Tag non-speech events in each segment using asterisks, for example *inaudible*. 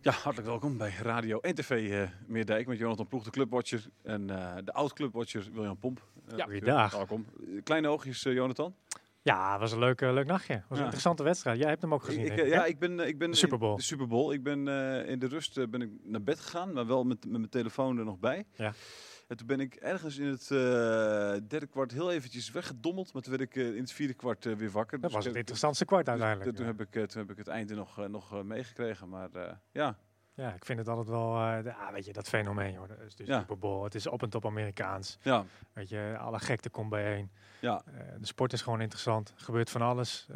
Ja, hartelijk welkom bij Radio en TV eh, Meerdijk met Jonathan Ploeg, de clubwatcher en eh, de oud-clubwatcher William Pomp. Eh, Goeiedag. Welkom. Eh, Kleine oogjes, eh, Jonathan. Ja, het was een leuk, eh, leuk nachtje. Het was Ja. een interessante wedstrijd. Jij hebt hem ook gezien. Ik, ik, denk eh, ik, ja, hè? ik ben, eh, ik ben De Super Bowl. In, de Super Bowl. Ik ben eh, in de rust eh, ben ik naar bed gegaan, maar wel met, met mijn telefoon er nog bij. Ja. En toen ben ik ergens in het eh, derde kwart heel eventjes weggedommeld, maar toen werd ik eh, in het vierde kwart eh, weer wakker. Dat Dus was het ik- interessantste kwart dus uiteindelijk. toen, heb ik, eh, toen heb ik het einde nog, eh, nog eh, meegekregen, maar eh, ja, Ja, ik vind het altijd wel, eh, de- ah, weet je, dat fenomeen, joh. Dus de Ja. Super Bowl, het is op en top Amerikaans. ja, Weet je, alle gekte komt bijeen. ja. Eh, de sport is gewoon interessant. Er gebeurt van alles.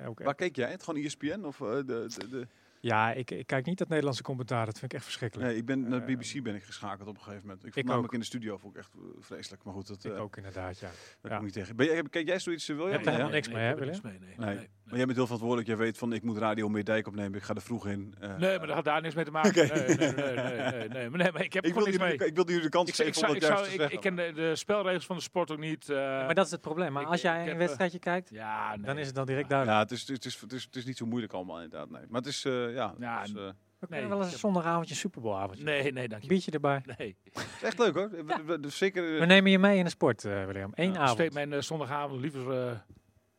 Eh, ook, Waar keek jij? Het gewoon ESPN of eh, de- de, de ja, ik, ik kijk niet dat Nederlandse commentaar. Dat vind ik echt verschrikkelijk. Nee, ik ben naar de Ehm, Eh, BBC ben ik geschakeld op een gegeven moment. Ik vond ik namelijk ook. in de studio vond ik echt eh, vreselijk. Maar goed, dat eh ik ook inderdaad, ja. daar ja. kom ik niet tegen. Ben jij, heb- kijk jij zoiets, eh, wil Heb jij? jij helemaal niks mee, hè, ik heb er Willem? niks mee, nee. Nee. Nee. Maar jij bent heel verantwoordelijk. Jij weet van ik moet Radio Meerdijk opnemen. Ik ga er vroeg in. Eh, Nee, maar dat had daar niks mee te maken. *laughs* Oké. Nee, nee, nee, nee, nee, nee, Maar nee, maar ik heb ik, er wilde gewoon niks jullie, mee. ik wilde jullie de kans Ik, zou- geven om ik, zou, ik, dat zou, juist te ik, zeggen. ik ken de, de spelregels van de sport ook niet. eh, Maar dat is het probleem. Maar ik- als ik jij een heb, eh, wedstrijdje kijkt, ja, nee. dan is het dan direct duidelijk. ja, het is, het, is, het, is, het is niet zo moeilijk allemaal inderdaad. Nee. Maar het is, eh, ja, Ja, het is, eh, We kunnen nee, wel eens ik een heb- zondagavondje een Super Bowl avondje. Nee, nee, dank je. Biertje erbij. Nee. het is echt leuk hoor. We- we- we- Zeker, *laughs* We eh, nemen je mee in de sport, eh, William. Eén Ik avond. Besteed mijn eh, zondagavond liever eh,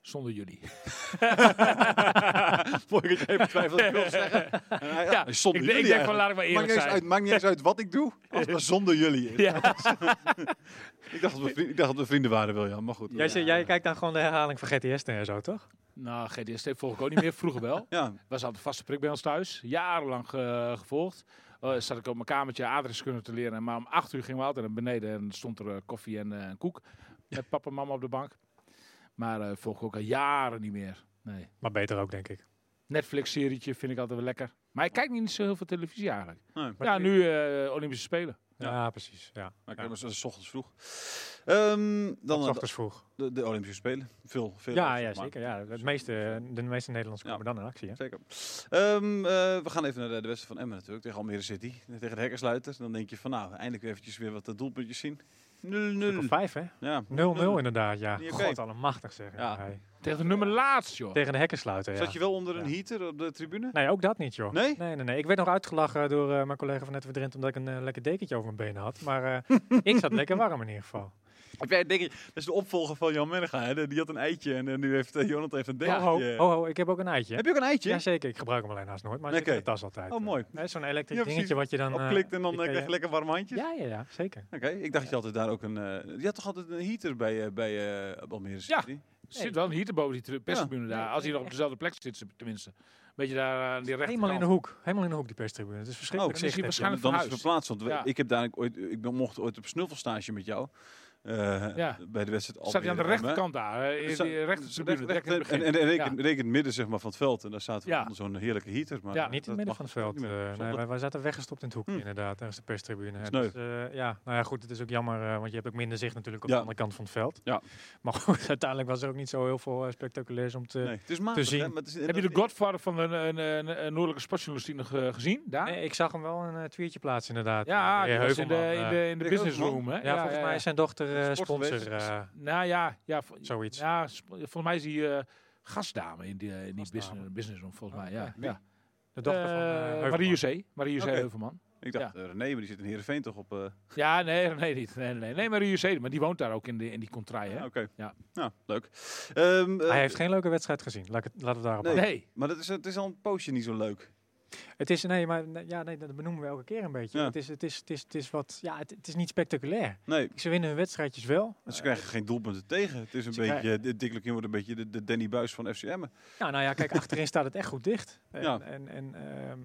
zonder *laughs* jullie. mooi dat je even twijfelt wat ik wil *laughs* zeggen. Ja, Ja, zonder ik, denk- ik jullie denk van, eigenlijk. laat ik Maakt maar eerlijk niet, eens zijn. uit, maakt niet eens uit wat ik doe, als *laughs* het maar zonder jullie. is. Ja. *laughs* Ik dacht dat we vrienden, ik dacht dat we vrienden waren, William. Maar goed. Jij, zit- jij kijkt dan gewoon de herhaling van GTS en zo, toch? Nou, GDST volg ik ook niet meer. Vroeger wel. Ja, was altijd vaste prik bij ons thuis. Jarenlang eh, gevolgd. Eh, zat ik op mijn kamertje aardrijkskunde te leren. Maar om acht uur gingen we altijd naar beneden en stond er eh, koffie en eh, een koek. Met papa en mama op de bank. Maar eh volg ik ook al jaren niet meer. Nee. Maar beter ook, denk ik. Netflix-serietje vind ik altijd wel lekker. Maar ik kijk niet zo heel veel televisie eigenlijk. nee, maar, Ja, nu eh, Olympische Spelen. Ja, Ja. precies. Ja. ik heb hem s ochtends vroeg. Ehm, dan Tot eh, ochtends vroeg. de, de Olympische Spelen. Veel, veel. Ja, zeg ja, maar. zeker. Ja. Het meeste, de meeste Ja. Nederlanders komen dan in actie. Hè? Zeker. Ehm, eh, we gaan even naar de, de wedstrijd van Emmen natuurlijk. Tegen Almere City. Tegen de hekkersluiter. Dan denk je van nou, eindelijk weer eventjes weer wat de doelpuntjes zien. 0-0. Op vijf, hè? 0-0 Ja. inderdaad, ja. Niet God oké. allemachtig zeg. Ja. Ja. hey. Tegen de nummer laatst, joh. Tegen de hekken sluiten, ja. Zat je wel onder een Ja. heater op de tribune? *laughs* Nee, ook dat niet, joh. Nee? Nee, nee, nee. Ik werd nog uitgelachen door eh, mijn collega van Net Drent omdat ik een eh, lekker dekentje over mijn benen had. Maar *laughs* eh, ik zat lekker warm in ieder geval. Heb jij, denk ik, dat is de opvolger van Jan Menega. Hè? Die had een eitje en eh, nu heeft eh, Jonathan even een Ho, ho, dekentje. ho, ho, ik heb ook een eitje. Heb je ook een eitje? Jazeker, ik gebruik hem alleen haast nooit, maar hij zit Oké. in de tas altijd. Oh, mooi. Hè, Zo'n elektrisch Ja, precies. dingetje wat je dan... eh, Opklikt en dan die eh, kan krijg je lekker warm handjes. Ja, ja, ja, zeker. Oké, ik dacht je altijd daar ook een. eh, je had toch altijd een heater bij, eh, bij eh, Almere City? Zit wel hier te boven die tri- perstribune daar. Nee, Als hij nee, nog op dezelfde plek zit, tenminste. Beetje daar aan die rechterkant. Helemaal in de hoek. Helemaal in de hoek, die perstribune. Het is verschrikkelijk Oh, dan is hij zicht, hè. Ja, maar dan is Waarschijnlijk het verhuisd. verplaatst. Want we- Ja. ik, heb daar ooit, ik ben- mocht ooit op snuffelstage met jou. eh, Ja. Bij de wedstrijd Staat hij aan Almere de Emmen. rechterkant daar. eh, In Sta- die rechtertribune. recht- direct in het en en begin. reken, Ja. reken het midden zeg maar, van het veld. En daar zaten we Ja. onder zo'n heerlijke heater. Maar Ja. dat- Niet in dat het midden mag van het ook veld. niet meer. eh, nee, Zonde. wij, wij zaten weggestopt in het hoekje Hm. inderdaad, tijdens de perstribune. is hè. Dus, eh, ja, nou ja, goed, het is ook jammer, eh, want je hebt ook minder zicht natuurlijk op Ja. de andere kant van het veld. Ja. Maar goed, *laughs* uiteindelijk was er ook niet zo heel veel eh, spectaculairs om te... Nee, het is matig, zien. hè, maar het is- Heb je de Godfather van een, een, een, een noordelijke sportjournalistiek nog eh, gezien? Daar? Nee, ik zag hem wel een eh, tweetje plaatsen inderdaad. ja, Eh, die was in de, Heuvelman, in eh, de, in de Rick business Heuvelman? room. Hè? ja, volgens mij is zijn dochter eh, Sport sponsor. geweest. eh, Nou ja, ja vo- Zoiets. Ja, sp- volgens mij is hij eh, gastdame in die, eh, in die Gastdame. business, business room. Volgens mij, Oh, ja. oké. ja. de dochter van eh, Eh, Heuvelman. Marie José. Marie José Oké. Heuvelman. Ik dacht, eh, René, maar die zit in Heerenveen toch op... eh, Ja, nee, *laughs* nee, niet. Nee, nee, nee, Marie José. Maar die woont daar ook in, de, in die contraille. Oké, Hè? ja. Ja. nou, leuk. Ehm, eh, Hij heeft geen leuke wedstrijd gezien. Laat ik het- Laten we het daarop Nee. Nee. Maar dat is, het is al een poosje niet zo leuk. Het is, nee, maar nee, ja, nee, dat benoemen we elke keer een beetje. Ja. Het, is, het, is, het, is, het is wat, ja, het, het is niet spectaculair. Nee, Ze winnen hun wedstrijdjes wel. ze krijgen geen doelpunten tegen. Het is een ze beetje, krijgen- dit Dick Lukien wordt een beetje de, de Danny Buis van FCM. Nou, nou ja, kijk, achterin staat het echt goed dicht. En, Ja. en, en ehm,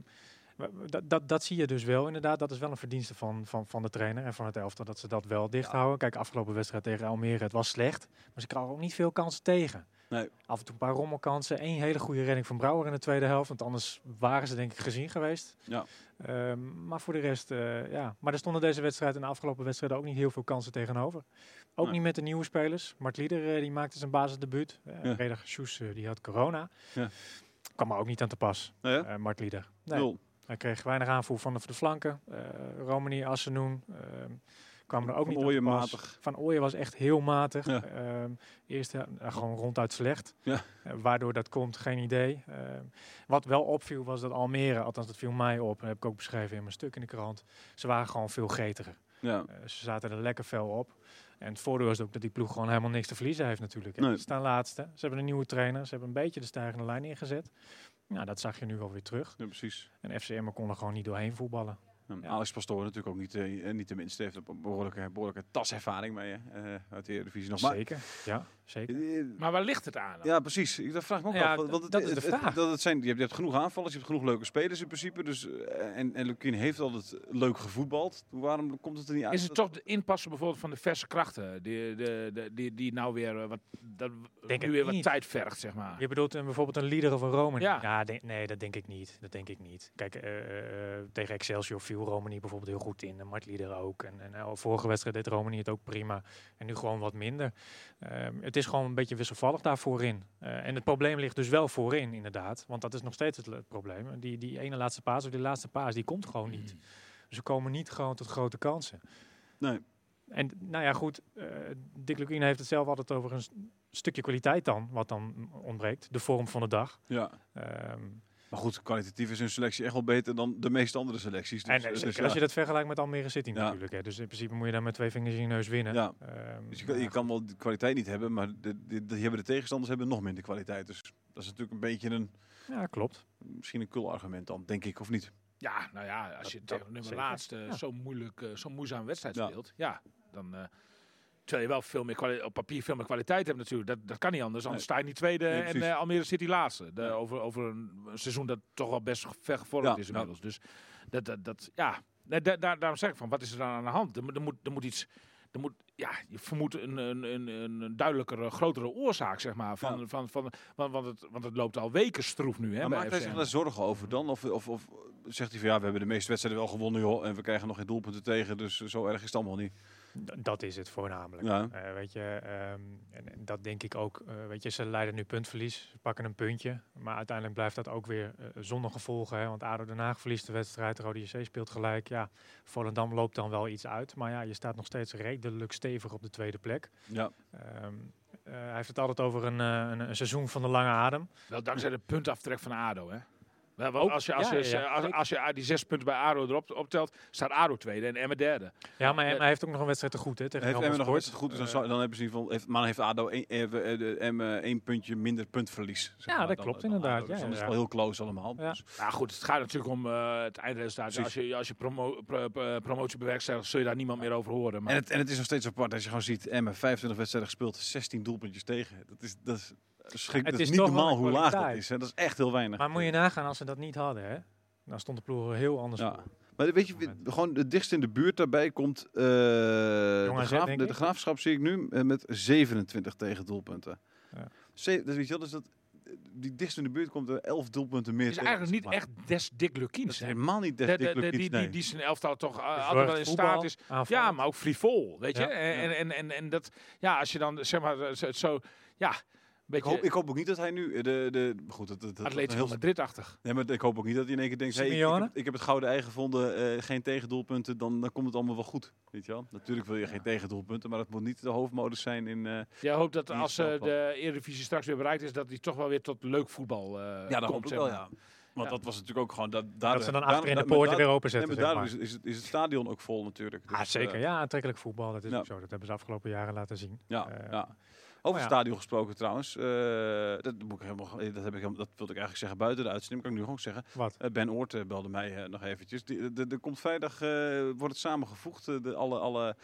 wa- wa- dat, dat, dat zie je dus wel inderdaad. Dat is wel een verdienste van, van, van de trainer en van het elftal dat ze dat wel dicht houden. Kijk, afgelopen wedstrijd tegen Almere, het was slecht. Maar ze kregen ook niet veel kansen tegen. Nee. Af en toe een paar rommelkansen. één hele goede redding van Brouwer in de tweede helft. Want anders waren ze denk ik gezien geweest. Ja. Ehm, maar voor de rest, eh, ja. Maar er stonden deze wedstrijd en de afgelopen wedstrijden ook niet heel veel kansen tegenover. Ook Nee. niet met de nieuwe spelers. Mart Lieder eh, die maakte zijn basisdebuut. Eh Ja. Reda Sjoes eh, die had corona. Ja. Kwam er ook niet aan te pas, Nou ja, eh Mart Lieder. Nee, nul. Hij kreeg weinig aanvoer van de, van de flanken. Eh Romani, Assenoen ehm kwam er ook Van niet Ooyen aan te pas. matig. Van Ooyen was echt heel matig. Ja. Ehm, eerst eh, gewoon ronduit slecht. Ja. Eh, waardoor dat komt, geen idee. Ehm, wat wel opviel was dat Almere, althans dat viel mij op, en heb ik ook beschreven in mijn stuk in de krant. Ze waren gewoon veel gretiger. Ja. Eh, ze zaten er lekker fel op. En het voordeel is ook dat die ploeg gewoon helemaal niks te verliezen heeft natuurlijk. hè. Nee. Ze staan laatste. Ze hebben een nieuwe trainer. Ze hebben een beetje de stijgende lijn ingezet. Nou, dat zag je nu wel weer terug. ja, precies. En FCM kon er gewoon niet doorheen voetballen. Ja, Ja. Alex Pastoor natuurlijk ook niet, eh, niet de minste. Heeft een behoorlijke, behoorlijke taservaring mee hè, eh, uit de Eredivisie nog. Maar, Zeker. Ja, zeker. Eh, Maar waar ligt het aan? dan? Ja, precies. Ik dat vraag ik me ook Ja, af. d- dat is de het, vraag. dat het zijn, je, hebt, je hebt genoeg aanvallers, je hebt genoeg leuke spelers in principe. Dus, eh, en en Lukien heeft altijd leuk gevoetbald. Waarom komt het er niet uit? Is het toch de inpassen bijvoorbeeld van de verse krachten? Die, de, de, die, die nou weer, eh, wat, dat Denk nu het weer wat niet. tijd vergt, zeg maar. Je bedoelt eh, bijvoorbeeld een leader of een Romani? Ja. de- nee, dat denk ik niet. Dat denk ik niet. Kijk, eh, eh, eh, tegen Excelsior viel Romani bijvoorbeeld heel goed in. En Mart Lieder ook. En, en eh, vorige wedstrijd deed Romani het ook prima. En nu gewoon wat minder. Ehm, het is gewoon een beetje wisselvallig daar voorin. Eh, en het probleem ligt dus wel voorin, inderdaad. Want dat is nog steeds het, le- het probleem. Die, die ene laatste paas of die laatste paas, die komt gewoon niet. Dus Ze komen niet gewoon tot grote kansen. Nee. En nou ja, goed, eh Dick Lukien heeft het zelf altijd over een s- stukje kwaliteit dan, wat dan ontbreekt. De vorm van de dag. ja. Ehm, Maar goed, kwalitatief is hun selectie echt wel beter dan de meeste andere selecties. Dus, en eh, eh, dus zeker ja. als je dat vergelijkt met Almere City Ja. natuurlijk. Hè. Dus in principe moet je daar met twee vingers in je neus winnen. Ja. Ehm, Dus je, kan- je kan wel de kwaliteit niet hebben, maar de, de, die hebben de tegenstanders hebben nog minder kwaliteit. Dus dat is natuurlijk een beetje een, ja, klopt. misschien een kul argument dan, denk ik, of niet? Ja, nou ja, als je dat tegen de nummer zeker. laatste Ja. zo moeilijk, eh, zo'n moeizaam wedstrijd Ja. speelt, ja, dan. eh, terwijl je wel veel meer kwali- op papier veel meer kwaliteit hebt natuurlijk. Dat, dat kan niet anders. Anders sta je niet tweede Nee, en precies. eh, Almere City laatste. De- Ja. over, over een seizoen dat toch wel best ver gevormd Ja, is ja. inmiddels. Dus dat, dat, dat ja. Nee, da- daar- daarom zeg ik van, wat is er dan aan de hand? Er, moet- er, moet, er moet iets... Er moet, ja, je vermoedt een, een, een, een een duidelijkere, grotere oorzaak, zeg maar. Van, Ja. van, van, want, want, het, want het loopt al weken stroef nu, hè, Maar bij maakt hij zich FCM. daar zorgen over dan? Of, of, of zegt hij van ja, we hebben de meeste wedstrijden wel gewonnen joh, en we krijgen nog geen doelpunten tegen, dus zo erg is het allemaal niet. D- dat is het voornamelijk. Ja. Eh, weet je, ehm, en, en dat denk ik ook. eh, weet je, ze leiden nu puntverlies, ze pakken een puntje. Maar uiteindelijk blijft dat ook weer eh, zonder gevolgen. Hè, want ADO Den Haag verliest de wedstrijd, Rode JC speelt gelijk. Ja, Volendam loopt dan wel iets uit. Maar ja, je staat nog steeds redelijk stevig op de tweede plek. Ja, Ehm, eh, hij heeft het altijd over een, eh, een, een seizoen van de lange adem. Wel dankzij de puntaftrek van ADO, hè? Wel, want als je, als, ja, je, ja, ja. als, Zeker. als je die zes punten bij ADO erop optelt, staat ADO tweede en Emmen derde. Ja, maar hij heeft ook nog een wedstrijd te goed hè, tegen heeft Emmen Helmond nog wedstrijd Sport. goed, dus dan, Eh, zou- dan hebben ze in ieder geval, heeft, maar heeft ADO één, eh, we- eh, de Emmen één puntje minder puntverlies. zeg Ja, maar, dat dan- klopt dan inderdaad, ADO. Dus ja, dan is het ja. wel heel close allemaal. Ja. Dus, Maar Nou goed, het gaat natuurlijk om eh, het eindresultaat. Precies. Als je, als je promo, pro- pro- promotie bewerkstelligt, zul je daar niemand meer over horen. Maar en, het, en het is nog steeds apart als je gewoon ziet, Emmen 25 wedstrijden gespeeld, 16 doelpuntjes tegen. Dat is, dat is, schrik, Het dat is is niet toch wel normaal een hoe laag dat kwaliteit. is. Hè. Dat is echt heel weinig. Maar moet je nagaan als ze dat niet hadden, hè? Dan stond de ploeg er heel anders Dus Ja. voor. Maar weet je, we- gewoon het dichtst in de buurt daarbij komt eh, de, AZ, graaf, denk de, ik. de graafschap, zie ik nu, eh, met 27 tegen doelpunten. Ja. Ze, dus weet je wel, dus dat, die dichtst in de buurt komt er 11 doelpunten meer het is tegen. eigenlijk niet Maar echt des Dick Dat Lukien. is hè? helemaal niet De- de- des de- Dick die, Lukien, die, nee. die zijn elftal toch eh, altijd Verzorgd wel in staat voetbal, is. Ja, aanvallend. maar ook frivol, weet je. Ja, En, ja. en, en, en, en dat, ja, als je dan, zeg maar, eh, zo- zo, ja, een ik, beetje hoop, ik hoop ook niet dat hij nu... eh, De, de, goed, dat, dat, dat Atletico heel, Madrid-achtig. nee, maar ik hoop ook niet dat hij in één keer denkt... Hey, ik, ik, Simeone? heb, ik heb het gouden ei gevonden, eh, geen tegendoelpunten, dan, dan komt het allemaal wel goed. Weet je wel? Natuurlijk wil je geen tegendoelpunten, maar dat moet niet de hoofdmodus zijn in... eh, Jij hoopt dat Die als snap eh, wel. de Eredivisie straks weer bereikt is, dat die toch wel weer tot leuk voetbal eh Ja, dat komt. komt zeg wel, maar. ja. Want Ja. dat was natuurlijk ook gewoon... Dat, Dat daardoor- ze dan daarom- achterin de da- maar poorten daar- weer Nee, openzetten. maar Zeg daardoor maar. is, is, het, is het stadion ook vol natuurlijk. Ah, Dus, zeker. eh, Ja, aantrekkelijk voetbal. Dat is ja. ook zo. Dat hebben ze afgelopen jaren laten zien. ja, Eh, ja. Over ja. het stadion gesproken trouwens. eh, dat, moet ik helemaal, dat, heb ik helemaal, dat wilde ik eigenlijk zeggen buiten de uitzending. Kan ik nu gewoon zeggen. Wat? Eh, ben Oort eh, belde mij eh, nog eventjes. Die- de- de- Er komt vrijdag, eh, wordt het samengevoegd. eh, de, alle alle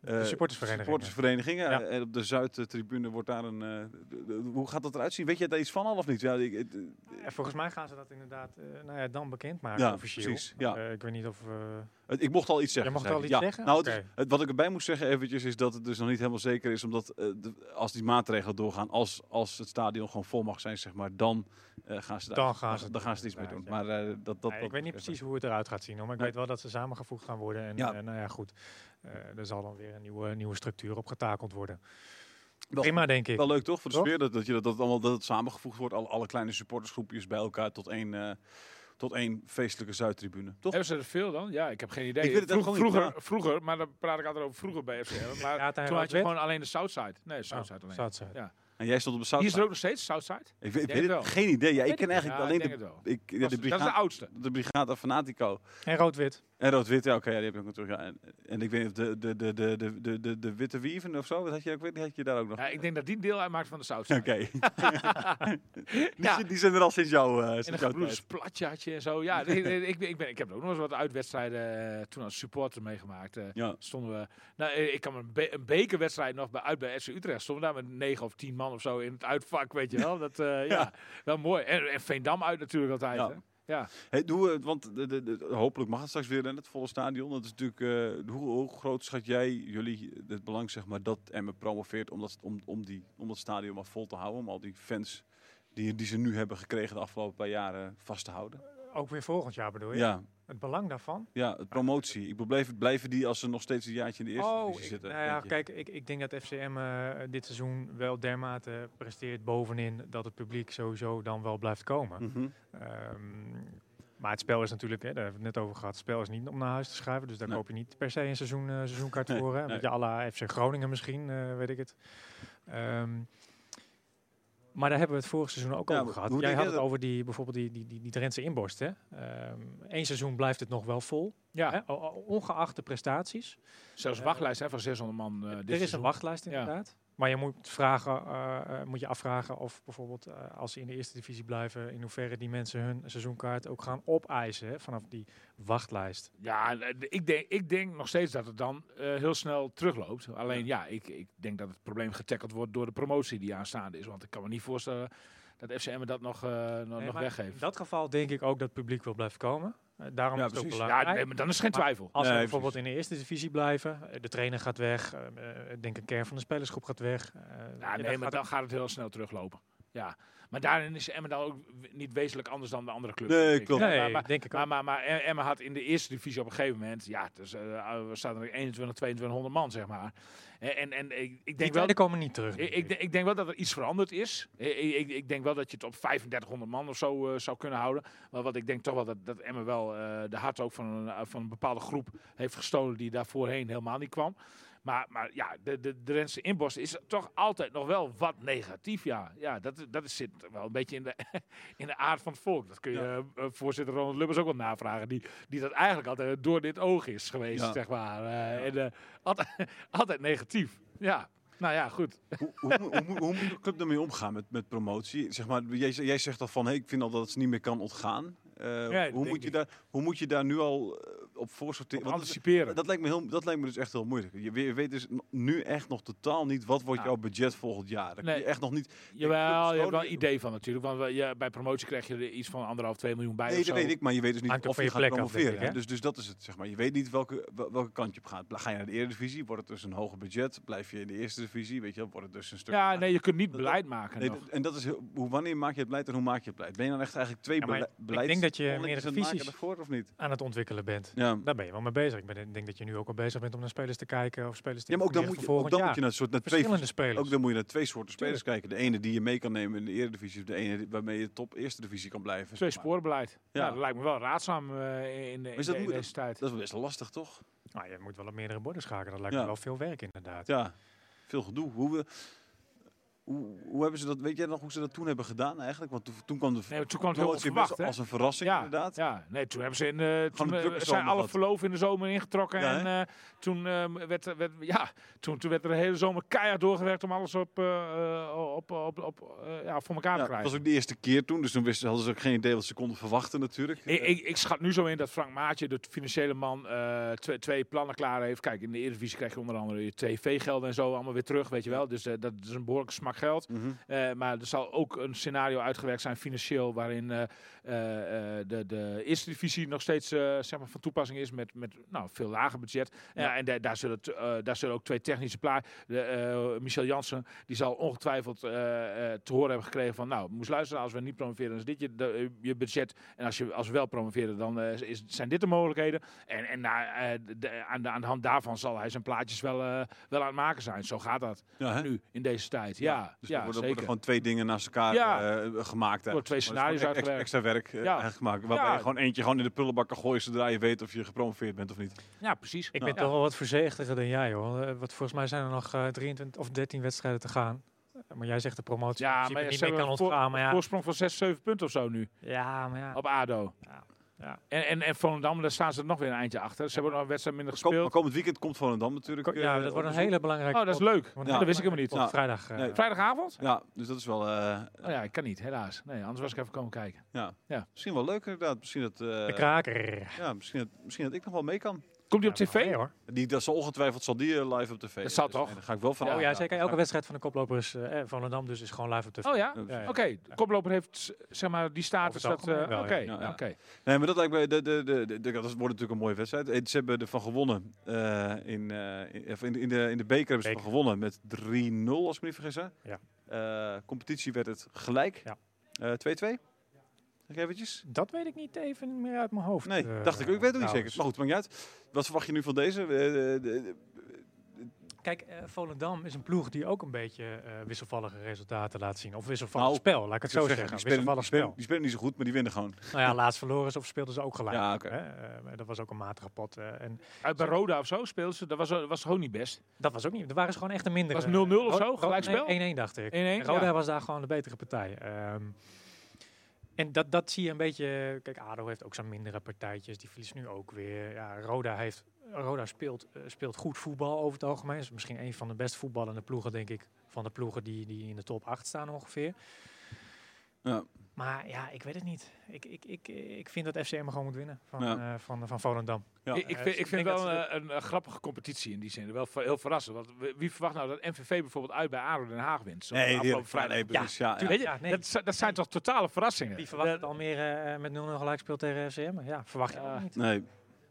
eh, De supportersverenigingen. supportersverenigingen. Ja. Eh, en op de Zuidtribune wordt daar een... eh, de- de- hoe gaat dat eruit zien? Weet je daar iets van al of niet? Ja, ik, het- Eh, volgens mij gaan ze dat inderdaad eh, nou ja, dan bekendmaken Ja, officieel. precies, ja. Eh, ik weet niet of... eh, Het- Ik mocht al iets zeggen. Jij mocht zei al ik. iets zeggen? Nou, het is- Oké. het- wat ik erbij moest zeggen eventjes is dat het dus nog niet helemaal zeker is. Omdat eh, de- als die maatregelen doorgaan, als, als het stadion gewoon vol mag zijn, zeg maar, dan eh, gaan ze daar- Dan gaan ze het dan gaan ze doen, er iets mee doen. Maar inderdaad, eh, dat, dat, nou, dat- ik weet niet precies hoe het eruit gaat zien. hoor, Maar ik Nee. weet wel dat ze samengevoegd gaan worden. En Ja. eh, nou ja, goed. Eh, er zal dan weer een nieuwe, nieuwe structuur opgetakeld worden. Wel- Prima, denk ik. Wel leuk toch? Voor de Toch? sfeer dat, dat, je, dat, dat, allemaal, dat het samengevoegd wordt. Alle, alle kleine supportersgroepjes bij elkaar tot één, eh, tot één feestelijke Zuidtribune. Toch? Hebben ze er veel dan? Ja, ik heb geen idee. Ik weet het Vroeg- echt gewoon niet, vroeger, vroeger, maar dan praat ik altijd over vroeger *laughs* bij FCM. Maar Ja, het toen had je Outlet? gewoon alleen de Southside. Nee, Southside Oh, alleen. Southside. En jij stond op de Hier is er Zuid. ook nog steeds Southside. Ik weet, Denk weet het- het wel. geen idee. Ja, ik Weet ken het niet. eigenlijk Ja, ik alleen denk de, het wel. ik, ja, Dat de, is- dat is de brigade, oudste. de Brigada Fanatico. En rood-wit. En rood-wit, ja, oké, ja, die heb ik ook natuurlijk. Ja, en, en ik weet niet of de, de, de, de, de, de, de, de witte wieven of zo, wat had je, ook, weet- die had je daar ook nog? Ja, ik denk dat die deel uitmaakt van de Oké. Southside. *laughs* die, Ja. zijn- die zijn er al sinds jou. eh En een sinds jouw gebroeders tijd. platje had je en *laughs* zo. Ja, nee, nee, ik, ben, ik, ben, ik heb ook nog eens wat uitwedstrijden eh, toen als supporter meegemaakt. eh, Ja. Stonden we, nou, eh, ik kan me een, be- een bekerwedstrijd nog bij, uit bij FC Utrecht. Stonden we daar met negen of tien man of zo in het uitvak, weet je wel. Dat, eh, ja. wel mooi. En, en Veendam uit natuurlijk altijd. Ja. hè. ja. Hey, doe, eh, want de, de, de- hopelijk mag het straks weer in het volle stadion. Dat is natuurlijk, eh, hoe, hoe groot schat jij jullie het belang zeg maar, dat Emmen promoveert om dat, om, om, die, om dat stadion maar vol te houden? Om al die fans die, die ze nu hebben gekregen de afgelopen paar jaren vast te houden? Ook weer volgend jaar bedoel je? Ja, Het belang daarvan? ja het promotie. Ik blijf, blijven die als ze nog steeds een jaartje in de eerste divisie ik- zitten? nou ja, denk je? kijk, ik, ik denk dat FCM eh, dit seizoen wel dermate presteert bovenin dat het publiek sowieso dan wel blijft komen. Mhm. Ehm, maar het spel is natuurlijk, hè, daar hebben we het net over gehad, het spel is niet om naar huis te schrijven. Dus daar Nee. koop je niet per se een seizoen, eh, seizoenkaart Nee, voor. Hè? Een nee. beetje à la FC Groningen misschien, eh, weet ik het. Ehm, maar daar hebben we het vorig seizoen ook Ja, over maar gehad. hoe Jij denk had jij het over die, bijvoorbeeld die, die, die, die Drentse inborst. Hè? Eén seizoen blijft het nog wel vol, ja. hè? o- o- ongeacht de prestaties. Zelfs een Eh, wachtlijst hè, van 600 man. eh, dit Er is een seizoen. wachtlijst Ja. inderdaad. Maar je moet, vragen, eh, eh, moet je afvragen of bijvoorbeeld eh, als ze in de eerste divisie blijven, in hoeverre die mensen hun seizoenkaart ook gaan opeisen hè, vanaf die wachtlijst. Ja, en, eh, ik denk, ik denk nog steeds dat het dan eh, heel snel terugloopt. Alleen ja, ik, ik denk dat het probleem getackeld wordt door de promotie die aanstaande is. Want ik kan me niet voorstellen dat FCM dat nog, eh, nog, Nee, nog maar weggeeft. In dat geval denk ik ook dat het publiek wil blijven komen. Eh, daarom Ja, is het ook precies. belangrijk. Ja, nee, maar dan is geen Maar- twijfel. Als ze Nee, bijvoorbeeld in de eerste divisie blijven, eh, de trainer gaat weg, eh, eh, ik denk een kern van de spelersgroep gaat weg. eh, ja, Ja, dan nee, maar gaat- dan gaat het heel snel teruglopen. Ja, maar daarin is Emmen dan ook w- niet wezenlijk anders dan de andere clubs. Nee, denk ik. klopt. Nee, maar, maar, denk ik ook. maar, maar, maar Em- Emmen had in de eerste divisie op een gegeven moment, ja, dus, eh we staan er 21, 2200 man, zeg maar. En, en, en ik, Die ik denk wel... tijden komen niet terug. Ik, denk ik. ik, denk- ik denk wel dat er iets veranderd is. Ik, ik, ik denk wel dat je het op 3500 man of zo eh, zou kunnen houden. Maar wat ik denk toch wel dat, dat Emmen wel eh, de hart ook van een, van een bepaalde groep heeft gestolen die daar voorheen helemaal niet kwam. Maar, maar ja, de, de Drentse inborst is toch altijd nog wel wat negatief. Ja, ja dat, is- dat is- zit wel een beetje in de, *laughs* in de aard van het volk. Dat kun je eh, eh, voorzitter Ronald Lubbers ook wel navragen. Die, die dat eigenlijk altijd eh, door dit oog is geweest, Ja. zeg maar. Eh, en, eh, altijd, *laughs* altijd negatief. Ja, nou ja, goed. hoe, hoe, hoe, moet- hoe moet de club daarmee omgaan met, met promotie? Zeg maar, jij, jij zegt al van, hey, ik vind al dat het ze niet meer kan ontgaan. Eh, dat hoe, denk moet je ik. daar, hoe moet je daar nu al eh, op voor sorteren? Want dat- anticiperen. dat, lijkt me heel, dat lijkt me dus echt heel moeilijk. Je, we- je weet dus n- nu echt nog totaal niet wat wordt Ja. Nou. jouw budget volgend jaar. Dat kun je Nee. echt nog niet. Jawel, je hebt wel Groningen- een idee van natuurlijk. Want we- ja, bij promotie krijg je er iets van anderhalf, twee miljoen Nou, bij. Nee, of zo. dat weet ik, maar je weet dus niet Hangt ook of van je je gaat plek af, promoveren. denk ik, hè? dus, dus dat is het, zeg maar. Je weet niet welke, wel- welke kant je op gaat. Ga je naar de Eredivisie, wordt het dus een hoger budget? Blijf je in de Eerste Divisie, weet je, wel, wordt het dus een stuk... Ja, nee, je kunt niet Dat- beleid maken. Nee, nog. d- en dat is heel, hoe, wanneer maak je het beleid en hoe maak je het beleid? Ben je dan echt eigenlijk twee Ja, maar bele- ik beleids- denk dat je bolletjes meerdere aan het maken visies- daarvoor of niet? Aan het ontwikkelen bent. Ja. Daar ben je wel mee bezig. Ik ben, ik denk dat je nu ook al bezig bent om naar spelers te kijken of spelers te ja, maar ook dan moet informeren je, voor ook dan moet volgend je naar, een soort, jaar. naar twee, Verschillende spelers. ook dan moet je naar twee soorten spelers kijken. De ene die je mee kan nemen in de Eredivisie, of de ene waarmee je top Eerste Divisie kan blijven. Twee zeg maar. sporenbeleid. Ja. Ja. dat lijkt me wel raadzaam eh, in, in, is dat in moe- deze tijd. Dat is best lastig, toch? Nou, je moet wel op meerdere borden schakelen. Dat lijkt Ja. me wel veel werk inderdaad. Ja, veel gedoe. Hoe we, Hoe, hoe hebben ze dat, weet jij nog hoe ze dat toen hebben gedaan eigenlijk? Want toen, toen kwam de Nee, maar toen kwam het heel promotie best onverwacht, hè? als een verrassing ja, inderdaad. Ja, nee, toen hebben ze in, eh, Gewoon toen, een eh, drukke zijn zomer alle gehad. verloven in de zomer ingetrokken. Ja, en eh, toen, eh, werd, er- werd, ja, toen, toen werd er de hele zomer keihard doorgewerkt om alles op, eh, eh, op, op, op, eh, ja, voor elkaar Ja, te dat krijgen. was ook de eerste keer toen, dus toen wisten, hadden ze ook geen idee wat ze konden verwachten natuurlijk. Ik, ik, ik schat nu zo in dat Frank Maatje, de financiële man, eh, twee, twee plannen klaar heeft. Kijk, in de Eredivisie krijg je onder andere je tv-gelden en zo allemaal weer terug, weet je wel. Dus eh, dat is een behoorlijke smak geld. Mhm. Eh, maar er zal ook een scenario uitgewerkt zijn financieel waarin eh, eh, eh, de, de eerste divisie nog steeds eh, zeg maar van toepassing is met, met nou, veel lager budget. Eh, en da- daar, zullen t- eh, daar zullen ook twee technische plaatsen. Michel Jansen die zal ongetwijfeld eh, eh, te horen hebben gekregen van nou, moest luisteren als we niet promoveren dan is dit je, de- je budget. En als, je, als we wel promoveren dan eh, is, zijn dit de mogelijkheden. En, en na, eh, de- aan, de, aan de hand daarvan zal hij zijn plaatjes wel, eh, wel aan het maken zijn. Zo gaat dat Ja, hè? nu in deze tijd. Ja, ja, Dus er worden, zeker. worden gewoon twee dingen naast elkaar Ja. eh, gemaakt. eigenlijk. twee Dus gewoon scenario's ex- ex- uitgewerkt. Extra werk eh, Ja. eigenlijk gemaakt. Waarbij Ja. je gewoon eentje gewoon in de prullenbak kan gooien zodra je weet of je gepromoveerd bent of niet. Ja, precies. Ik Nou. ben toch wel wat voorzichtiger dan jij, hoor. Eh, Want volgens mij zijn er nog eh, 23 of 13 wedstrijden te gaan. Eh, Maar jij zegt de promotie Ja, in maar principe niet ze meer kan hebben voor- ontgaan. Maar ja, Voorsprong van 6, 7 punten of zo nu ja, maar ja. op ADO. Ja. Ja. En, en, en Volendam, daar staan ze er nog weer een eindje achter. Ze hebben nog een wedstrijd minder Kom, maar gespeeld. komend weekend komt Volendam natuurlijk. Ko- eh, ja, dat op wordt een bezoek. hele belangrijke... Oh, dat is leuk. Want Ja. Dat wist ik helemaal niet. Ja. Vrijdag. eh, Nee. Vrijdagavond? Ja, dus dat is wel... eh, Oh ja, ik kan niet, helaas. Nee, anders was ik even komen kijken. Misschien wel leuk inderdaad. Misschien dat, eh, De kraker. ja, misschien, dat, misschien dat ik nog wel mee kan. Komt die op Ja, tv? maar nee, hoor. Die, dat zal ongetwijfeld zal die eh, live op tv. Dat zal dus, toch? nee, daar ga ik wel van Oh uit, ja, zeker. Elke Ja. wedstrijd van de koploper is eh, eh, Volendam, dus is gewoon live op tv. Oh ja? Ja, Ja, ja. Oké, de koploper heeft z- zeg maar die status. Over het dat, eh, algemeen wel, Oké, ja. Ja, ja. oké. Nee, maar dat lijkt me, de, de, de, de- de- dat wordt natuurlijk een mooie wedstrijd. Eh, Ze hebben ervan gewonnen. eh, in, eh, in, of in, de- in, de, in de beker hebben ze ervan gewonnen met 3-0, als ik me niet vergis. Hè? Ja. Eh, competitie werd het gelijk. Ja. Eh, 2-2? Zeg eventjes. Dat weet ik niet even meer uit mijn hoofd. Nee, eh, dacht ik. ook. Ik weet het niet zeker. trouwens. Maar goed, maakt niet uit. Wat verwacht je nu van deze? Eh, de- de- Kijk, eh, Volendam is een ploeg die ook een beetje eh, wisselvallige resultaten laat zien. Of wisselvallig Nou, spel, laat ik het ik zo wil zeggen. die spelen, die, Wisselvallig spelen, spel. die spelen niet zo goed, maar die winnen gewoon. Nou ja, laatst verloren ze of speelden ze ook gelijk. Ja, oké. hè? Eh, maar dat was ook een matige pot. eh, en Uit bij Roda of zo speelden ze. Dat was, dat was gewoon niet best. dat was ook niet. Er waren ze gewoon echt een Oh, minder. Was 0-0 of zo? Gelijkspel? 1-1 dacht ik. 1-1, Roda ja. was daar gewoon de betere partij. Ehm, en dat, dat zie je een beetje. Kijk, Ado heeft ook zijn mindere partijtjes. Die verliest nu ook weer. Ja, Roda, heeft, Roda speelt, eh, speelt goed voetbal over het algemeen. Is misschien een van de best voetballende ploegen, denk ik. Van de ploegen die, die in de top 8 staan ongeveer. Ja. Maar ja, ik weet het niet. Ik, ik, ik, ik vind dat FCM gewoon moet winnen van, Ja. Ah, eh, van, van Volendam. Ja, ik, ik eh, vind, ik ik vind denk dat wel ze eh, een, eh, grappige competitie in die zin. Wel ver- heel verrassend. Want wie- wie verwacht nou dat MVV bijvoorbeeld uit bij ADO Den Haag wint? Zo Nee, afgelopen die, ja, nee, precies. Ja, ja. tuurlijk. Weet je, Ja, nee. dat, zi- dat zijn toch totale verrassingen? Wie verwacht het Almere eh, met 0-0 gelijk speelt tegen FCM? Ja, verwacht je Ja. ook niet. Nee,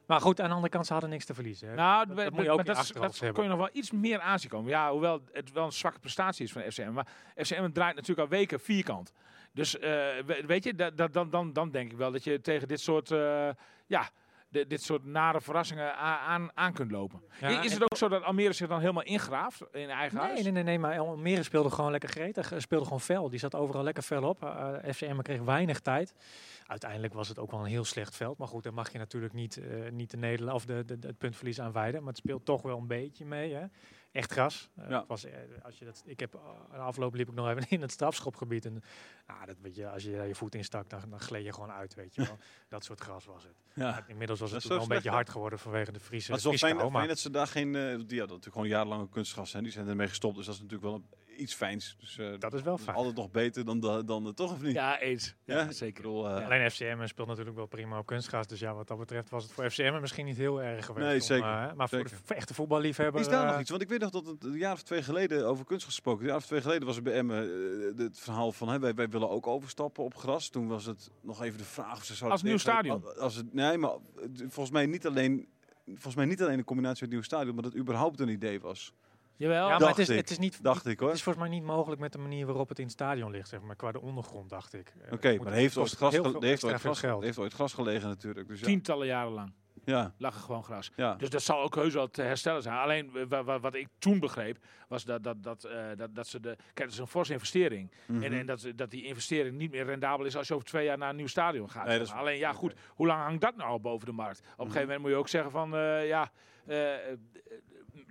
Maar goed, aan de andere kant, ze hadden niks te verliezen. hè. Nou, dat we- moet we- je ook maar in de dat, is- achterhoofd dat hebben. kon je nog wel iets meer aanzien komen. Ja, hoewel het wel een zwakke prestatie is van FCM. Maar FCM draait natuurlijk al weken vierkant. Dus eh, we- weet je, dat, dat, dan, dan, dan denk ik wel dat je tegen dit soort, eh, ja, di- dit soort nare verrassingen a- aan, aan kunt lopen. Ja, I- en- is het ook zo dat Almere zich dan helemaal ingraaft in eigen Nee, huis? nee, nee, nee, maar Almere speelde gewoon lekker gretig. eh, Speelde gewoon fel. Die zat overal lekker fel op. Eh, eh, FCM kreeg weinig tijd. Uiteindelijk was het ook wel een heel slecht veld. Maar goed, daar mag je natuurlijk niet, eh, niet de Nederland of de, de, de- het puntverlies aan wijden. Maar het speelt toch wel een beetje mee. Hè? Echt gras. Eh, Ja. het was, eh, als je dat, ik heb, eh, de afloop liep ik nog even *laughs* in het strafschopgebied. En nou, dat, weet je, als je daar je voet in stak, dan, dan gleed je gewoon uit. Weet je *laughs* wel. dat soort gras was het. ja. Inmiddels was het Dat is zo toen wel een beetje slecht, hard geworden vanwege de Friese. Maar het is wel vrieskou, fijn, maar- fijn dat ze daar geen... eh, die hadden natuurlijk gewoon jarenlange kunstgras en die zijn ermee gestopt. Dus dat is natuurlijk wel een- iets fijns. Dus, eh, Dat is wel is fijn. altijd nog beter dan, de- dan eh, toch of niet? Ja, eens. Ja, Ja? Ik zeker. bedoel, eh, Alleen FCM speelt natuurlijk wel prima op kunstgras. Dus ja, wat dat betreft was het voor FCM misschien niet heel erg geweest. Nee, om, zeker, eh, maar voor de zeker. v- echte voetballiefhebber... Is daar eh, nog iets? Want ik weet nog dat het een jaar of twee geleden over kunst gesproken. Een jaar of twee geleden was er bij Emmen eh, het verhaal van hè, wij, wij willen ook overstappen op gras. Toen was het nog even de vraag of ze zouden... Als nieuw tegen- stadion? Als het, nee, maar eh, volgens mij niet alleen... Volgens mij niet alleen een combinatie met het nieuw stadion, maar dat überhaupt een idee was. Jawel. Ja, maar Dacht het is, ik. het is niet... Dacht ik hoor. Het is volgens mij niet mogelijk met de manier waarop het in het stadion ligt, zeg maar, qua de ondergrond, dacht ik. Eh, Oké, dat moet- maar heeft kost ooit gras, heel gele- veel heeft extra ooit veel gras, heeft ooit gras gelegen natuurlijk. Dus ja. Tientallen jaren lang. Ja, Lag er gewoon gras. ja. Dus dat zal ook heus wel te herstellen zijn. Alleen eh, wa- wa- wat ik toen begreep, was dat, dat, dat, eh, dat, dat ze de. Kijk, dat is een forse investering. Mhm. En, en dat, dat die investering niet meer rendabel is als je over twee jaar naar een nieuw stadion gaat. Nee, dat is- Mhm. Alleen ja, goed, hoe lang hangt dat nou al boven de markt? Op een gegeven moment moet je ook zeggen van eh, ja. eh,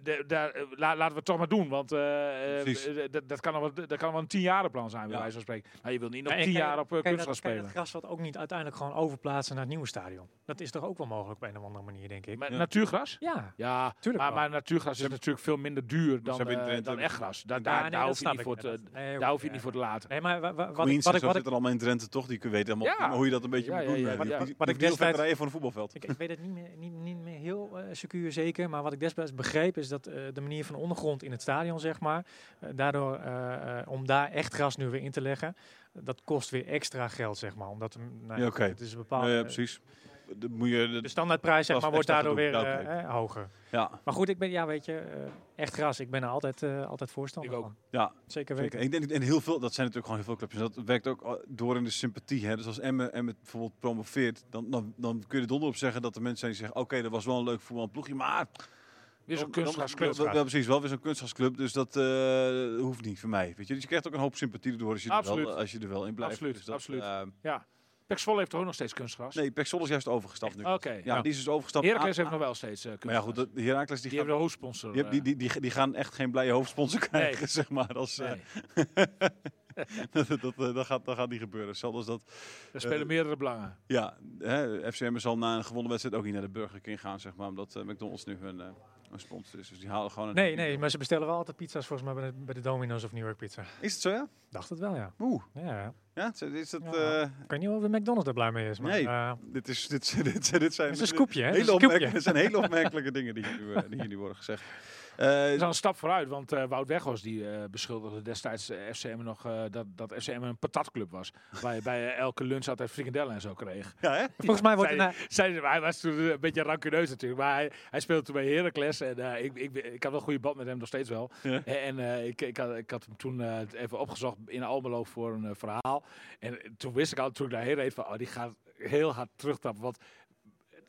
de- daar, eh, la- laten we het toch maar doen, want eh, eh, Precies. d- dat, dat kan al wel- dat kan wel een tienjarenplan zijn, bij Ja. wijze van spreken. Nou, je wilt niet nog Ja, en tien kan je- jaar eh, op uh, kan je kunstgras dat- kan je spelen. dat gras wat ook niet uiteindelijk gewoon overplaatsen naar het nieuwe stadion. Dat is toch ook wel mogelijk op een of andere manier, denk ik. Maar Ja. Natuurgras? ja. Ja, Tuurlijk maar, wel. maar natuurgras is natuurlijk veel minder duur dan, hebben in eh, Drenthe dan echt hebben ze- gras. Daar, Ja, daar, nee, daar dat hoef je snap niet ik, voor dat- te, nee, oké, daar hoef je ja. niet voor te laten. Nee, maar wa- wa- wat, ik- Queens wat en ik, zo wat ik, zitten allemaal in Drenthe toch, die weten helemaal Ja. prima hoe je dat een beetje Ja, moet ja, doen. ja, eh, ja. die- Wat- die- wat die ik wielrenner destijds- rijden voor een voetbalveld. Ik, ik weet het niet meer, niet, niet meer heel eh, secuur zeker, maar wat ik destijds begreep is dat eh, de manier van ondergrond in het stadion, zeg maar, eh, daardoor eh, eh, om daar echt gras nu weer in te leggen, dat kost weer extra geld, zeg maar. Omdat mm, nou, Ja, oké. het is een bepaalde. eh, Ja, ja, precies. De, moet je, de- De Dus- standaardprijs zeg Dat is maar, wordt extra daardoor weer gedoe. Ja, eh, oké. eh, hoger. ja, Maar goed, ik ben, ja, weet je, eh, echt gras. Ik ben er altijd, eh, altijd voorstander Ik ook. van. ja. Zeker weten. Zeker. Ik denk, en heel veel, dat zijn natuurlijk gewoon heel veel clubjes. En Dat werkt ook eh, door in de sympathie. Hè. Dus als Emmen, Emmen bijvoorbeeld promoveert, dan, dan, dan kun je er donder op zeggen dat er mensen zijn die zeggen: Oké, dat was wel een leuk voetbalploegje, maar. Weer zo'n dan- dan- kunstgras, wel- wel- precies, wel weer zo'n kunstgrasclub. Dus dat eh, hoeft niet voor mij. Weet je? Dus je krijgt ook een hoop sympathie door als je, er Absoluut. wel, als je er wel in blijft. Absoluut, Dus dat, absoluut. eh, Ja. Pek Zwolle heeft toch ook nog steeds kunstgras? nee, Pek Zwolle is juist overgestapt nu. Oké. nou, Ja, die is dus overgestapt. Heracles aan- heeft nog wel steeds eh Maar ja, kunstgras. goed, dat- Heracles die, gaat- die hebben de hoofdsponsor. die, heb- die, eh, die, die, die gaan echt geen blije hoofdsponsor krijgen, *laughs* zeg maar. Als, eh, nee. dat, dat, dat, dat gaat, dat gaat niet gebeuren. Zelfs als dat Er eh, spelen meerdere belangen. Ja, hè, FCM zal na een gewonnen wedstrijd ook niet naar de Burger King gaan, zeg maar, omdat eh, McDonald's nu hun, eh, een sponsor is. Dus die halen gewoon een... Nee, nee, maar ze bestellen wel altijd pizza's volgens mij bij de, bij de Domino's of New York Pizza. Is het zo, ja? Dacht het wel, ja. Oeh. Ja, Ja, is- is dat... Ja. eh, ik weet niet of de McDonald's er blij mee is. Maar, Nee. eh, dit, is, dit, dit, dit zijn... *laughs* het is een scoopje, hè? Het is Hele een scoopje. opmerkelijke, dit zijn hele opmerkelijke dingen die, hier nu, eh, die hier nu worden *laughs* gezegd. Eh, Er is al een stap vooruit, want eh, Wout Weghorst die eh, beschuldigde destijds eh, FCM nog eh, dat, dat FCM een patatclub was. waar je bij eh, elke lunch altijd frikandellen en zo kreeg. ja, hè? Volgens mij wordt er... Zij- na- zij- hij was toen een beetje rancuneus natuurlijk, maar hij, hij speelde toen bij Heracles en eh, ik, ik, ik had wel een goede band met hem nog steeds wel. Ja. En, en, eh, ik, ik, had, ik had hem toen eh, even opgezocht in Almelo voor een eh, verhaal en toen wist ik al, toen ik daarheen reed van oh, die gaat heel hard terugtappen, want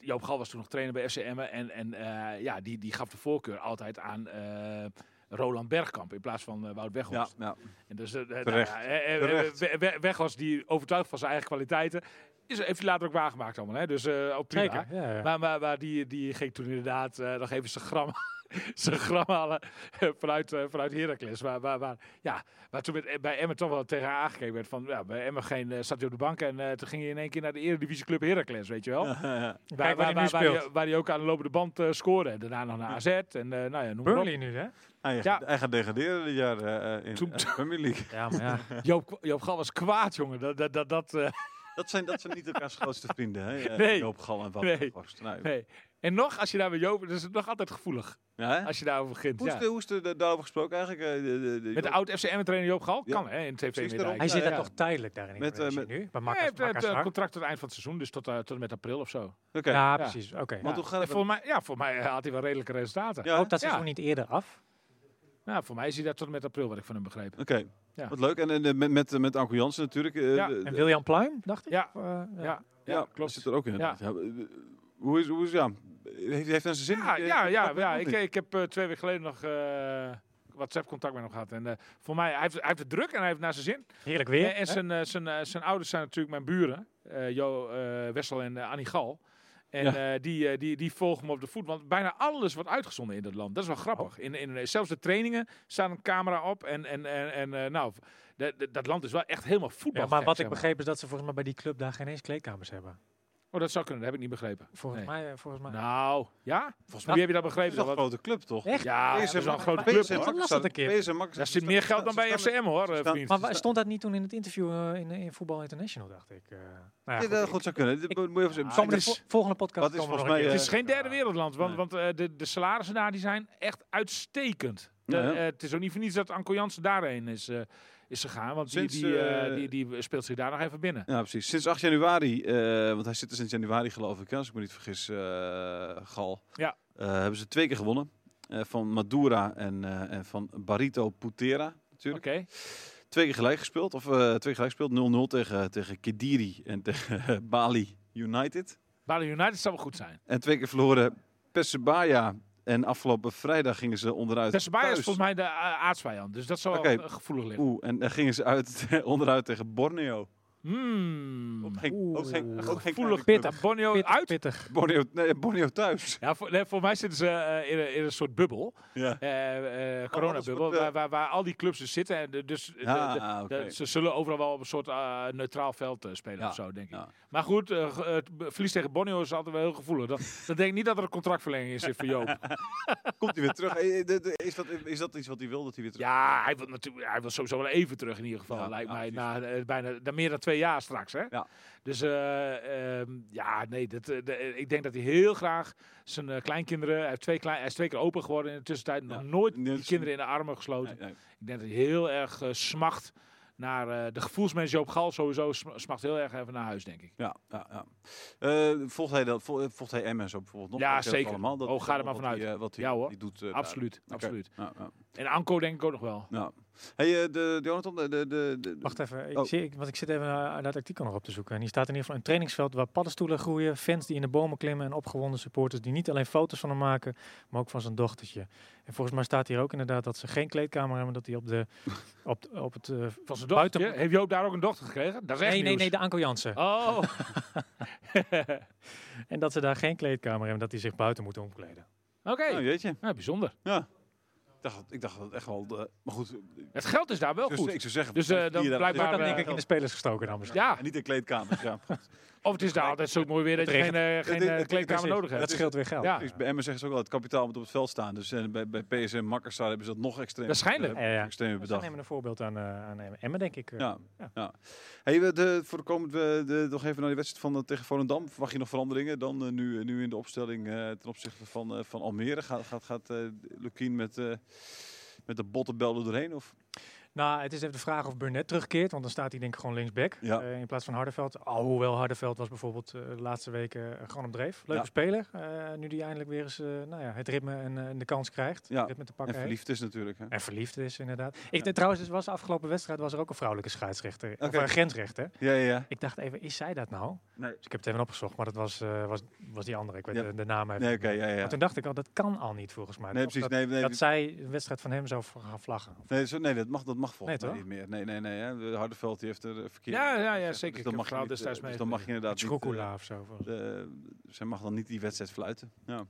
Joop Gal was toen nog trainer bij FC Emmen en, en eh, ja, die, die gaf de voorkeur altijd aan... eh, Roland Bergkamp in plaats van eh, Wout Weghorst. Ja, ja. En dus, eh, eh, nou Terecht. ja, eh, eh, Terecht. We- We- Weghorst die overtuigd van zijn eigen kwaliteiten. Is, heeft hij later ook waargemaakt allemaal. Hè? Dus eh ook prima. Zeker, ja, ja. Maar, maar, maar die, die ging toen inderdaad eh, nog even zijn gram, *laughs* zijn gram halen eh, vanuit, eh, vanuit Heracles. Waar, waar, waar, ja, waar toen met, eh, bij Emmen toch wel tegen haar aangekeken werd. Van, ja, bij Emmen geen, eh, zat hij op de bank en eh, toen ging hij in één keer naar de Eredivisieclub Heracles, weet *laughs* je wel. Kijk waar hij nu waar, speelt. hij, waar hij ook aan de lopende band eh, scoorde. En daarna nog naar AZ en eh, nou ja, noem maar op. Burnley nu, hè? Hij, Ja. hij Ah, gaat degraderen dit jaar eh, eh, in Toen- de Premier League. Ja, maar *laughs* ja. Joop, Joop Gal was kwaad, jongen. Dat, dat, dat, dat, eh, *laughs* Dat zijn, dat zijn niet elkaars grootste vrienden, hè? eh, Nee. Joop Gal en Wout Nee. Weghorst. Nou, Nee. En nog, als je daar met Joop, dat is het nog altijd gevoelig. ja, hè? Als je daarover begint. Hoe is Ja. de- hoe is de- daarover gesproken eigenlijk? eh, de- de- de- Met de oud FCM trainer Joop Gal? Ja. Kan hè, in TV Precies Meerdijk. daarom. Hij Ja, zit ja. daar toch tijdelijk daar in Met, eh, Indonesië met- nu? Bij Hij Makkers- heeft het eh, Makkers- contract tot het eind van het seizoen, dus tot, eh, tot en met april of zo. Oké. Ja, Ja. precies. Oké. Want ja. hoe gaat het- En Voor mij, ja, voor mij eh, had hij wel redelijke resultaten. Ja, Eh, hè? Loopt dat Ja. seizoen niet eerder af? Nou, voor mij is hij daar tot en met april, wat ik van hem begreep. Oké, Ja. wat leuk. En, en, eh, met, met, met Anko Jansen natuurlijk. eh, Ja, de- En de- William Pluim, dacht ik? Ja. Of, eh, Ja, ja. ja, klopt. Zit er ook in. Ja. eh, eh, Hoe is, hoe is ja? Heeft, heeft hij zijn zin? Ja, Eh, ja, ja, dat ja. weet Ik, niet. ik heb eh, twee weken geleden nog eh, WhatsApp-contact met hem gehad. En eh, voor mij, hij heeft, hij heeft het druk en hij heeft naar zijn zin. Heerlijk weer. En, en zijn, eh, zijn, eh, zijn ouders zijn natuurlijk mijn buren. eh, jo, eh, Wessel en eh, Annie Gal. En eh, die, eh, die, die volgen me op de voet. Want bijna alles wordt uitgezonden in dat land. Dat is wel grappig. Oh. In, in, eh, zelfs de trainingen staan een camera op. En, en, en, en eh, nou, de- de- dat land is wel echt helemaal voetbal. ja, maar wat ik begreep is dat ze volgens mij bij die club daar geen eens kleedkamers hebben. Oh, dat zou kunnen. Dat heb ik niet begrepen. Volgens Nee. mij, eh, volgens mij. Nou, ja? Volgens Wie heb je dat begrepen? is dat dan? een Want- grote club, toch? Echt? Ja, dat is wel een grote club. PSV hoor. Wat was dat een keer? Daar zit meer geld dan bij FCM hoor, eh, staan- vriend. Maar wa- stond dat niet toen in het interview eh, in, in Voetbal International, dacht ik? Eh, nou ja, Ja, goed, dat ik- goed zou kunnen. Dit ik- moet moet je even Ah, zien. de vo- volgende podcast wat is komen volgens we nog een mij, keer eh, op dus- Het is terug. geen derde wereldland, want, Nee. want eh, de, de salarissen daar die zijn echt uitstekend. De- Ja, ja. eh, het is ook niet voor niets dat Anko Jansen daarheen is, eh, is gegaan, want Sinds, die, die, eh, eh, die, die speelt zich daar nog even binnen. Ja, precies. Sinds 8 januari, eh, want hij zit er sinds januari geloof ik, hè, als ik me niet vergis, eh, Gal. Ja. Eh, hebben ze twee keer gewonnen. Eh, van Madura en, eh, en van Barito Putera Oké, natuurlijk. Twee keer gelijk *laughs* gespeeld. Of eh, twee keer gelijk gespeeld. 0-0 tegen, tegen Kediri en tegen Bali United. Bali United zou wel goed zijn. En twee keer verloren Persebaya. En afgelopen vrijdag gingen ze onderuit. Dessebaya is thuis. volgens mij de eh, aardsvijand, dus dat zou wel Oké. eh, gevoelig liggen. Oeh, en daar gingen ze uit, *laughs* onderuit tegen Borneo. Hmm. Ook geen, ook geen, ook geen Gevoelig kleine club. pittig. Borneo uit. Pittig. Borneo, nee, Borneo thuis. Ja, voor, nee, voor mij zitten ze eh, in, een, in een soort bubbel. Ja. eh eh alles coronabubbel, wordt, eh, waar, waar, waar al die clubs dus zitten. En de- dus de- Ah, de- de- oké. ze zullen overal wel op een soort eh, neutraal veld eh, spelen Ja, of zo, denk ik. ja. Maar goed, eh, ge- het be- verlies tegen Borneo is altijd wel heel gevoelig. Dan, dan denk ik niet dat er een contractverlenging is voor Joop. *laughs* Komt hij weer *laughs* terug? Eh, eh, de- de- Is dat, is dat iets wat hij wil dat hij weer terug? ja, hij wil, natuurlijk, hij wil sowieso wel even terug in ieder geval, Ja, lijkt ja, mij. precies. Na, eh, bijna, na meer dan twee jaar straks, hè? Ja. Dus eh, ehm, ja, nee, dat, eh, de- eh, ik denk dat hij heel graag zijn eh, kleinkinderen... Hij, heeft twee klein, hij is twee keer open geworden in de tussentijd. Nog Ja. nooit Nee, die dat is- kinderen in de armen gesloten. Nee, nee. Ik denk dat hij heel erg eh, smacht naar eh, de gevoelsmens Joop Gal sowieso sm- smacht heel erg even naar huis, denk ik. Ja, ja, ja. Eh, volgt hij dat? vol- eh, Volgt hij MS ook bijvoorbeeld nog? Ja, Ik weet het zeker. Allemaal, dat Oh, is ga er allemaal maar wat vanuit. hij, eh, wat hij, Ja, hoor. hij doet. eh, daar. absoluut, Oké. absoluut. Ja, ja. En Anko denk ik ook nog wel. Nou. Hey, eh, de, Jonathan, de, de, de, de- Wacht even, ik Oh. zie, ik, want ik zit even naar dat artikel nog op te zoeken. En hier staat in ieder geval een trainingsveld waar paddenstoelen groeien, fans die in de bomen klimmen en opgewonden supporters die niet alleen foto's van hem maken, maar ook van zijn dochtertje. En volgens mij staat hier ook inderdaad dat ze geen kleedkamer hebben, dat hij *laughs* op, de, op, op het... eh, Van zijn Buiten- dochter. Heeft Joop daar ook een dochter gekregen? Dat is echt nee, nee, nieuws. nee, de Anko Jansen. *laughs* Oh, oké. En dat ze daar geen kleedkamer hebben, dat hij zich buiten moet omkleden. Nou, jeetje. Nou, bijzonder. Ik dacht, ik dacht dat het echt wel... eh, maar goed, eh, Het geld is daar wel dus, goed. ik zou zeggen... Dus, eh, hier, dan daar- blijkbaar, Maar Maar, dat denk eh, ik in de spelers gestoken dan misschien. Ja, En niet in kleedkamers, ja. of het is daar altijd zo mooi weer dat je Het geen, eh, Het- geen het- eh, het- kleedkamer precies. nodig dat hebt. scheelt weer geld. Ja. Dus bij Emmen zeggen ze ook wel, het kapitaal moet op het veld staan. Dus eh, bij, bij PSM Makkerstar hebben ze dat nog extreem Waarschijnlijk. Ja, ja. extreem Ze bedacht. nemen een voorbeeld aan, eh aan Emmen, denk ik. eh. Ja, Ja. ja. Hey, we- de, voor de komende, de, nog even naar die wedstrijd van eh, tegen Volendam. Verwacht je nog veranderingen dan eh, nu, eh, nu in de opstelling eh, ten opzichte van, eh, van Almere? Gaat, gaat, gaat eh, Lukien met, eh, met de bottenbel er doorheen? Of? Nou, het is even de vraag of Burnett terugkeert, want dan staat hij denk ik gewoon linksback Ja. eh, in plaats van Hardenveld. Alhoewel Hardenveld was bijvoorbeeld eh, de laatste weken eh, gewoon op dreef. Leuke Ja. speler, eh, nu die eindelijk weer eens eh, nou ja, het ritme en, eh, en de kans krijgt. Ja, Het ritme te pakken en verliefd is natuurlijk. Hè? heeft. En verliefd is inderdaad. Ik, eh, Trouwens, dus was de afgelopen wedstrijd was er ook een vrouwelijke scheidsrechter, of Oké. een grensrechter. Ja, ja, ja. Ik dacht even, is zij dat nou? Nee. Dus ik heb het even opgezocht, maar dat was, eh, was, was die andere. Ik weet Ja. de, de naam even Nee, niet oké, meer. ja, ja. Maar toen dacht ik al, dat kan al niet volgens mij. Nee, Of precies. Dat, Nee, nee, dat zij een wedstrijd van hem zou v- gaan vlaggen. nee, zo, nee, dat mag, dat mag volgens Nee, mij toch? niet meer. Nee, nee, nee. Hè. De Hardenveld die heeft er eh, verkeerd. Ja, ja, ja, Dus zeker. Ik dan heb mag je verhaal niet, eh, destijds dus dan mag je Met inderdaad niet... eh, Schokula of zo. volgens mij. de- zij mag dan niet die wedstrijd fluiten. Ja.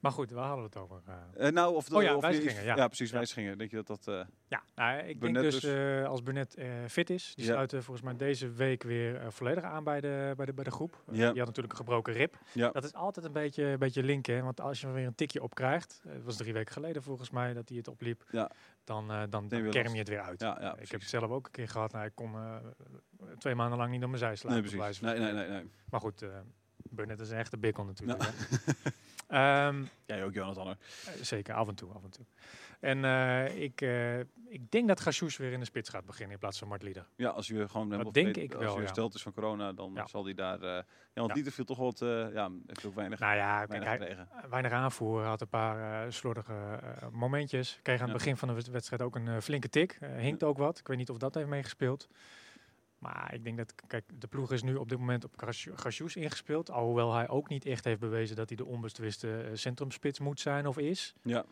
Maar goed, waar hadden we het over? eh? Eh, nou, of de, Oh ja, of die- wijzigingen, ja. precies, Ja. wijzigingen. Denk je dat dat... eh, ja, nou, ik Burnett denk dus, dus. eh, als Burnett eh, fit is, die Ja. sluiten volgens mij deze week weer eh, volledig aan bij de, bij de, bij de groep. Eh, Ja. Die had natuurlijk een gebroken rib. Ja. Dat is altijd een beetje, een beetje linken, want als je er weer een tikje op krijgt, eh, het was drie weken geleden volgens mij dat hij het opliep, Ja. dan, eh, dan, weer dan last. kerm je het weer uit. ja, ja, ik precies. heb het zelf ook een keer gehad, nou, ik kon eh, twee maanden lang niet op mijn zij slaan. Nee, op wijze precies. van Nee, nee, spreken. nee, nee. Maar goed, eh Burnett is een echte bikkel natuurlijk. Ja. hè. Ehm, Jij ook, Jonathan. hoor. Eh, Zeker, af en toe, af en toe. En eh, ik, eh, ik denk dat Gassous weer in de spits gaat beginnen in plaats van Mart Lieder. Ja, als u gewoon helemaal denk vergeet- ik als wel, u ja. hersteld is van corona, dan Ja. zal hij daar... eh ja, want Ja. Dieter viel toch wat... eh ja, heeft ook weinig, Nou ja, kijk, weinig hij, gekregen. weinig aanvoer, had een paar eh slordige eh, momentjes. Kreeg aan het Ja. begin van de wed- wedstrijd ook een eh, flinke tik. Eh, hinkt ook wat, ik weet niet of dat heeft meegespeeld. Maar ik denk dat, kijk, de ploeg is nu op dit moment op Gassou- Gassous ingespeeld. Alhoewel hij ook niet echt heeft bewezen dat hij de onbetwiste eh, centrumspits moet zijn of is. Ja.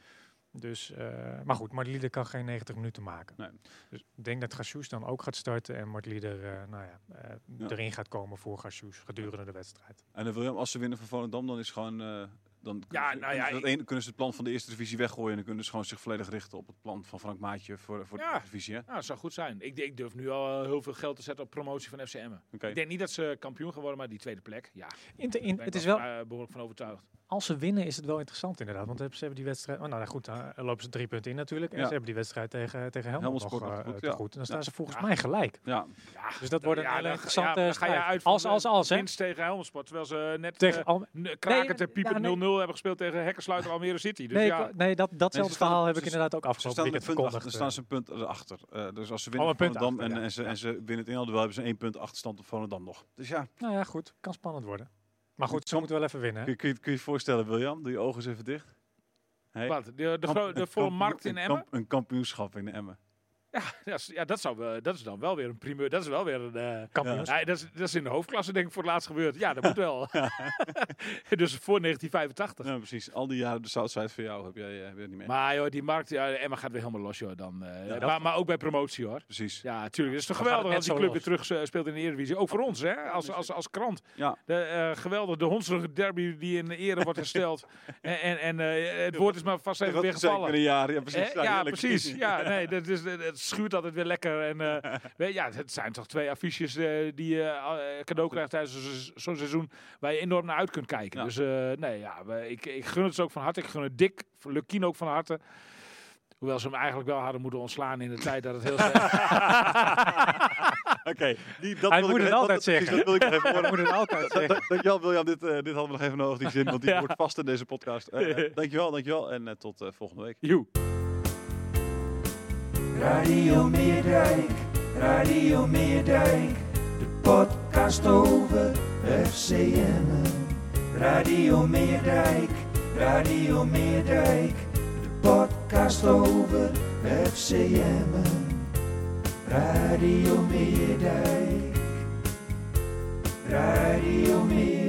Dus, eh, maar goed, Martlieder kan geen 90 minuten maken. Nee. Dus ik denk dat Gassous dan ook gaat starten en Martlieder eh, nou ja, eh, Ja. erin gaat komen voor Gassous gedurende de wedstrijd. En dan wil je hem, als ze winnen van Volendam, dan is gewoon... eh dan kunnen, Ja, ze, nou kunnen ja, ze dat ik- ene- kunnen ze het plan van de eerste divisie weggooien. En dan kunnen ze gewoon zich volledig richten op het plan van Frank Maatje voor, voor de Ja. eerste divisie. Hè? Nou, dat zou goed zijn. Ik, ik durf nu al eh, heel veel geld te zetten op promotie van FC Emmen. Oké. Ik denk niet dat ze kampioen gaan worden, maar die tweede plek, ja. daar In te- in, ben ik het is wel, eh, behoorlijk van overtuigd. als ze winnen is het wel interessant inderdaad. Want ze hebben die wedstrijd, oh, nou goed, dan lopen ze drie punten in natuurlijk. En Ja. ze hebben die wedstrijd tegen, tegen Helmond Helmond nog scoort nog eh, goed, te ja. goed. En dan Ja. staan ze volgens Ja. mij gelijk. Ja, Ja, Dus dat wordt een ja, hele dan ga- interessante ja, dan ga je strijd. uit Als, van, als, eh, als, hè? Winst tegen Helmersport, terwijl ze eh, net tegen Tegen, Al- krakend nee, en piepen ja, nee. 0-0 hebben gespeeld tegen Hekkensluiter Almere City. Dus nee, ja, ik- nee, dat, datzelfde staan- verhaal heb ik ze- inderdaad ook ze afgelopen staan, met weekend punt achter, dan verkondigd. staan eh. ze een punt erachter. Eh, dus als ze winnen Oh, een van punt Volendam achter, en, ja. en, ze, en ze winnen het inhaalduel, hebben ze één punt achterstand op Volendam nog. Dus ja, Nou ja, goed. Kan spannend worden. Maar goed, ze moeten wel even winnen. hè? kun, je- kun, je, kun je je voorstellen, William? Doe je ogen eens even dicht. Hey. wat? De, de, Kamp- gro- de een volle kampioen- markt in een Emmen? kamp- een kampioenschap in Emmen. Ja, s- ja dat, zou, wel- dat is dan wel weer een primeur. Dat is wel weer een... eh, Kampioens. ja, dat, is, dat is in de hoofdklasse denk ik voor het laatst gebeurd. Ja, dat moet wel. *laughs* *laughs* dus voor 1985. Ja, precies. Al die jaren de Southside voor jou heb jij eh, weer niet meer. Maar joh, die markt, ja, Emma gaat weer helemaal los joh. Dan, eh, dat- maar, maar ook bij promotie hoor. precies. Ja. Ja, natuurlijk. Het is Dan toch gaat het geweldig als die net club zo weer terug eh, speelt in de Eredivisie. Ook voor ons, hè? Als, dus als, als krant. De, eh, geweldig, de Hondsrug derby die in ere wordt *laughs* hersteld. en en, en eh, het woord is maar vast even Dat weer is zeker gevallen. een jaar. Ja, Hè? precies. Nou, ja, heerlijk. precies. *laughs* Ja, nee, dat is, eh, dat- het schuurt altijd weer lekker. En, eh, weet, ja, het zijn toch twee affiches eh, die je eh, cadeau krijgt tijdens zo'n seizoen- zo'n seizoen waar je enorm naar uit kunt kijken. Ja. Dus eh, nee, ja, we- ik, ik gun het ze ook van harte. Ik gun het Dick, Lukien ook van harte. Hoewel ze hem eigenlijk wel hadden moeten ontslaan in de tijd dat het *laughs* heel slecht... Oké. die- dat Hij wil moet ik- het dat- dat- precies, altijd zeggen. Dat wil ik nog *laughs* even horen. moet het altijd Da- *laughs* zeggen. da- Dankjewel William, dit, eh, dit hadden we nog even nodig, die zin, want die wordt vast in deze podcast. Eh, *laughs* eh, dankjewel, dankjewel en eh, tot eh, volgende week. Joe. Radio Meerdijk, Radio Meerdijk, de podcast over FCM'en. Radio Meerdijk, Radio Meerdijk, de podcast over FCM'en. Radio Meerdijk, Radio Meerdijk.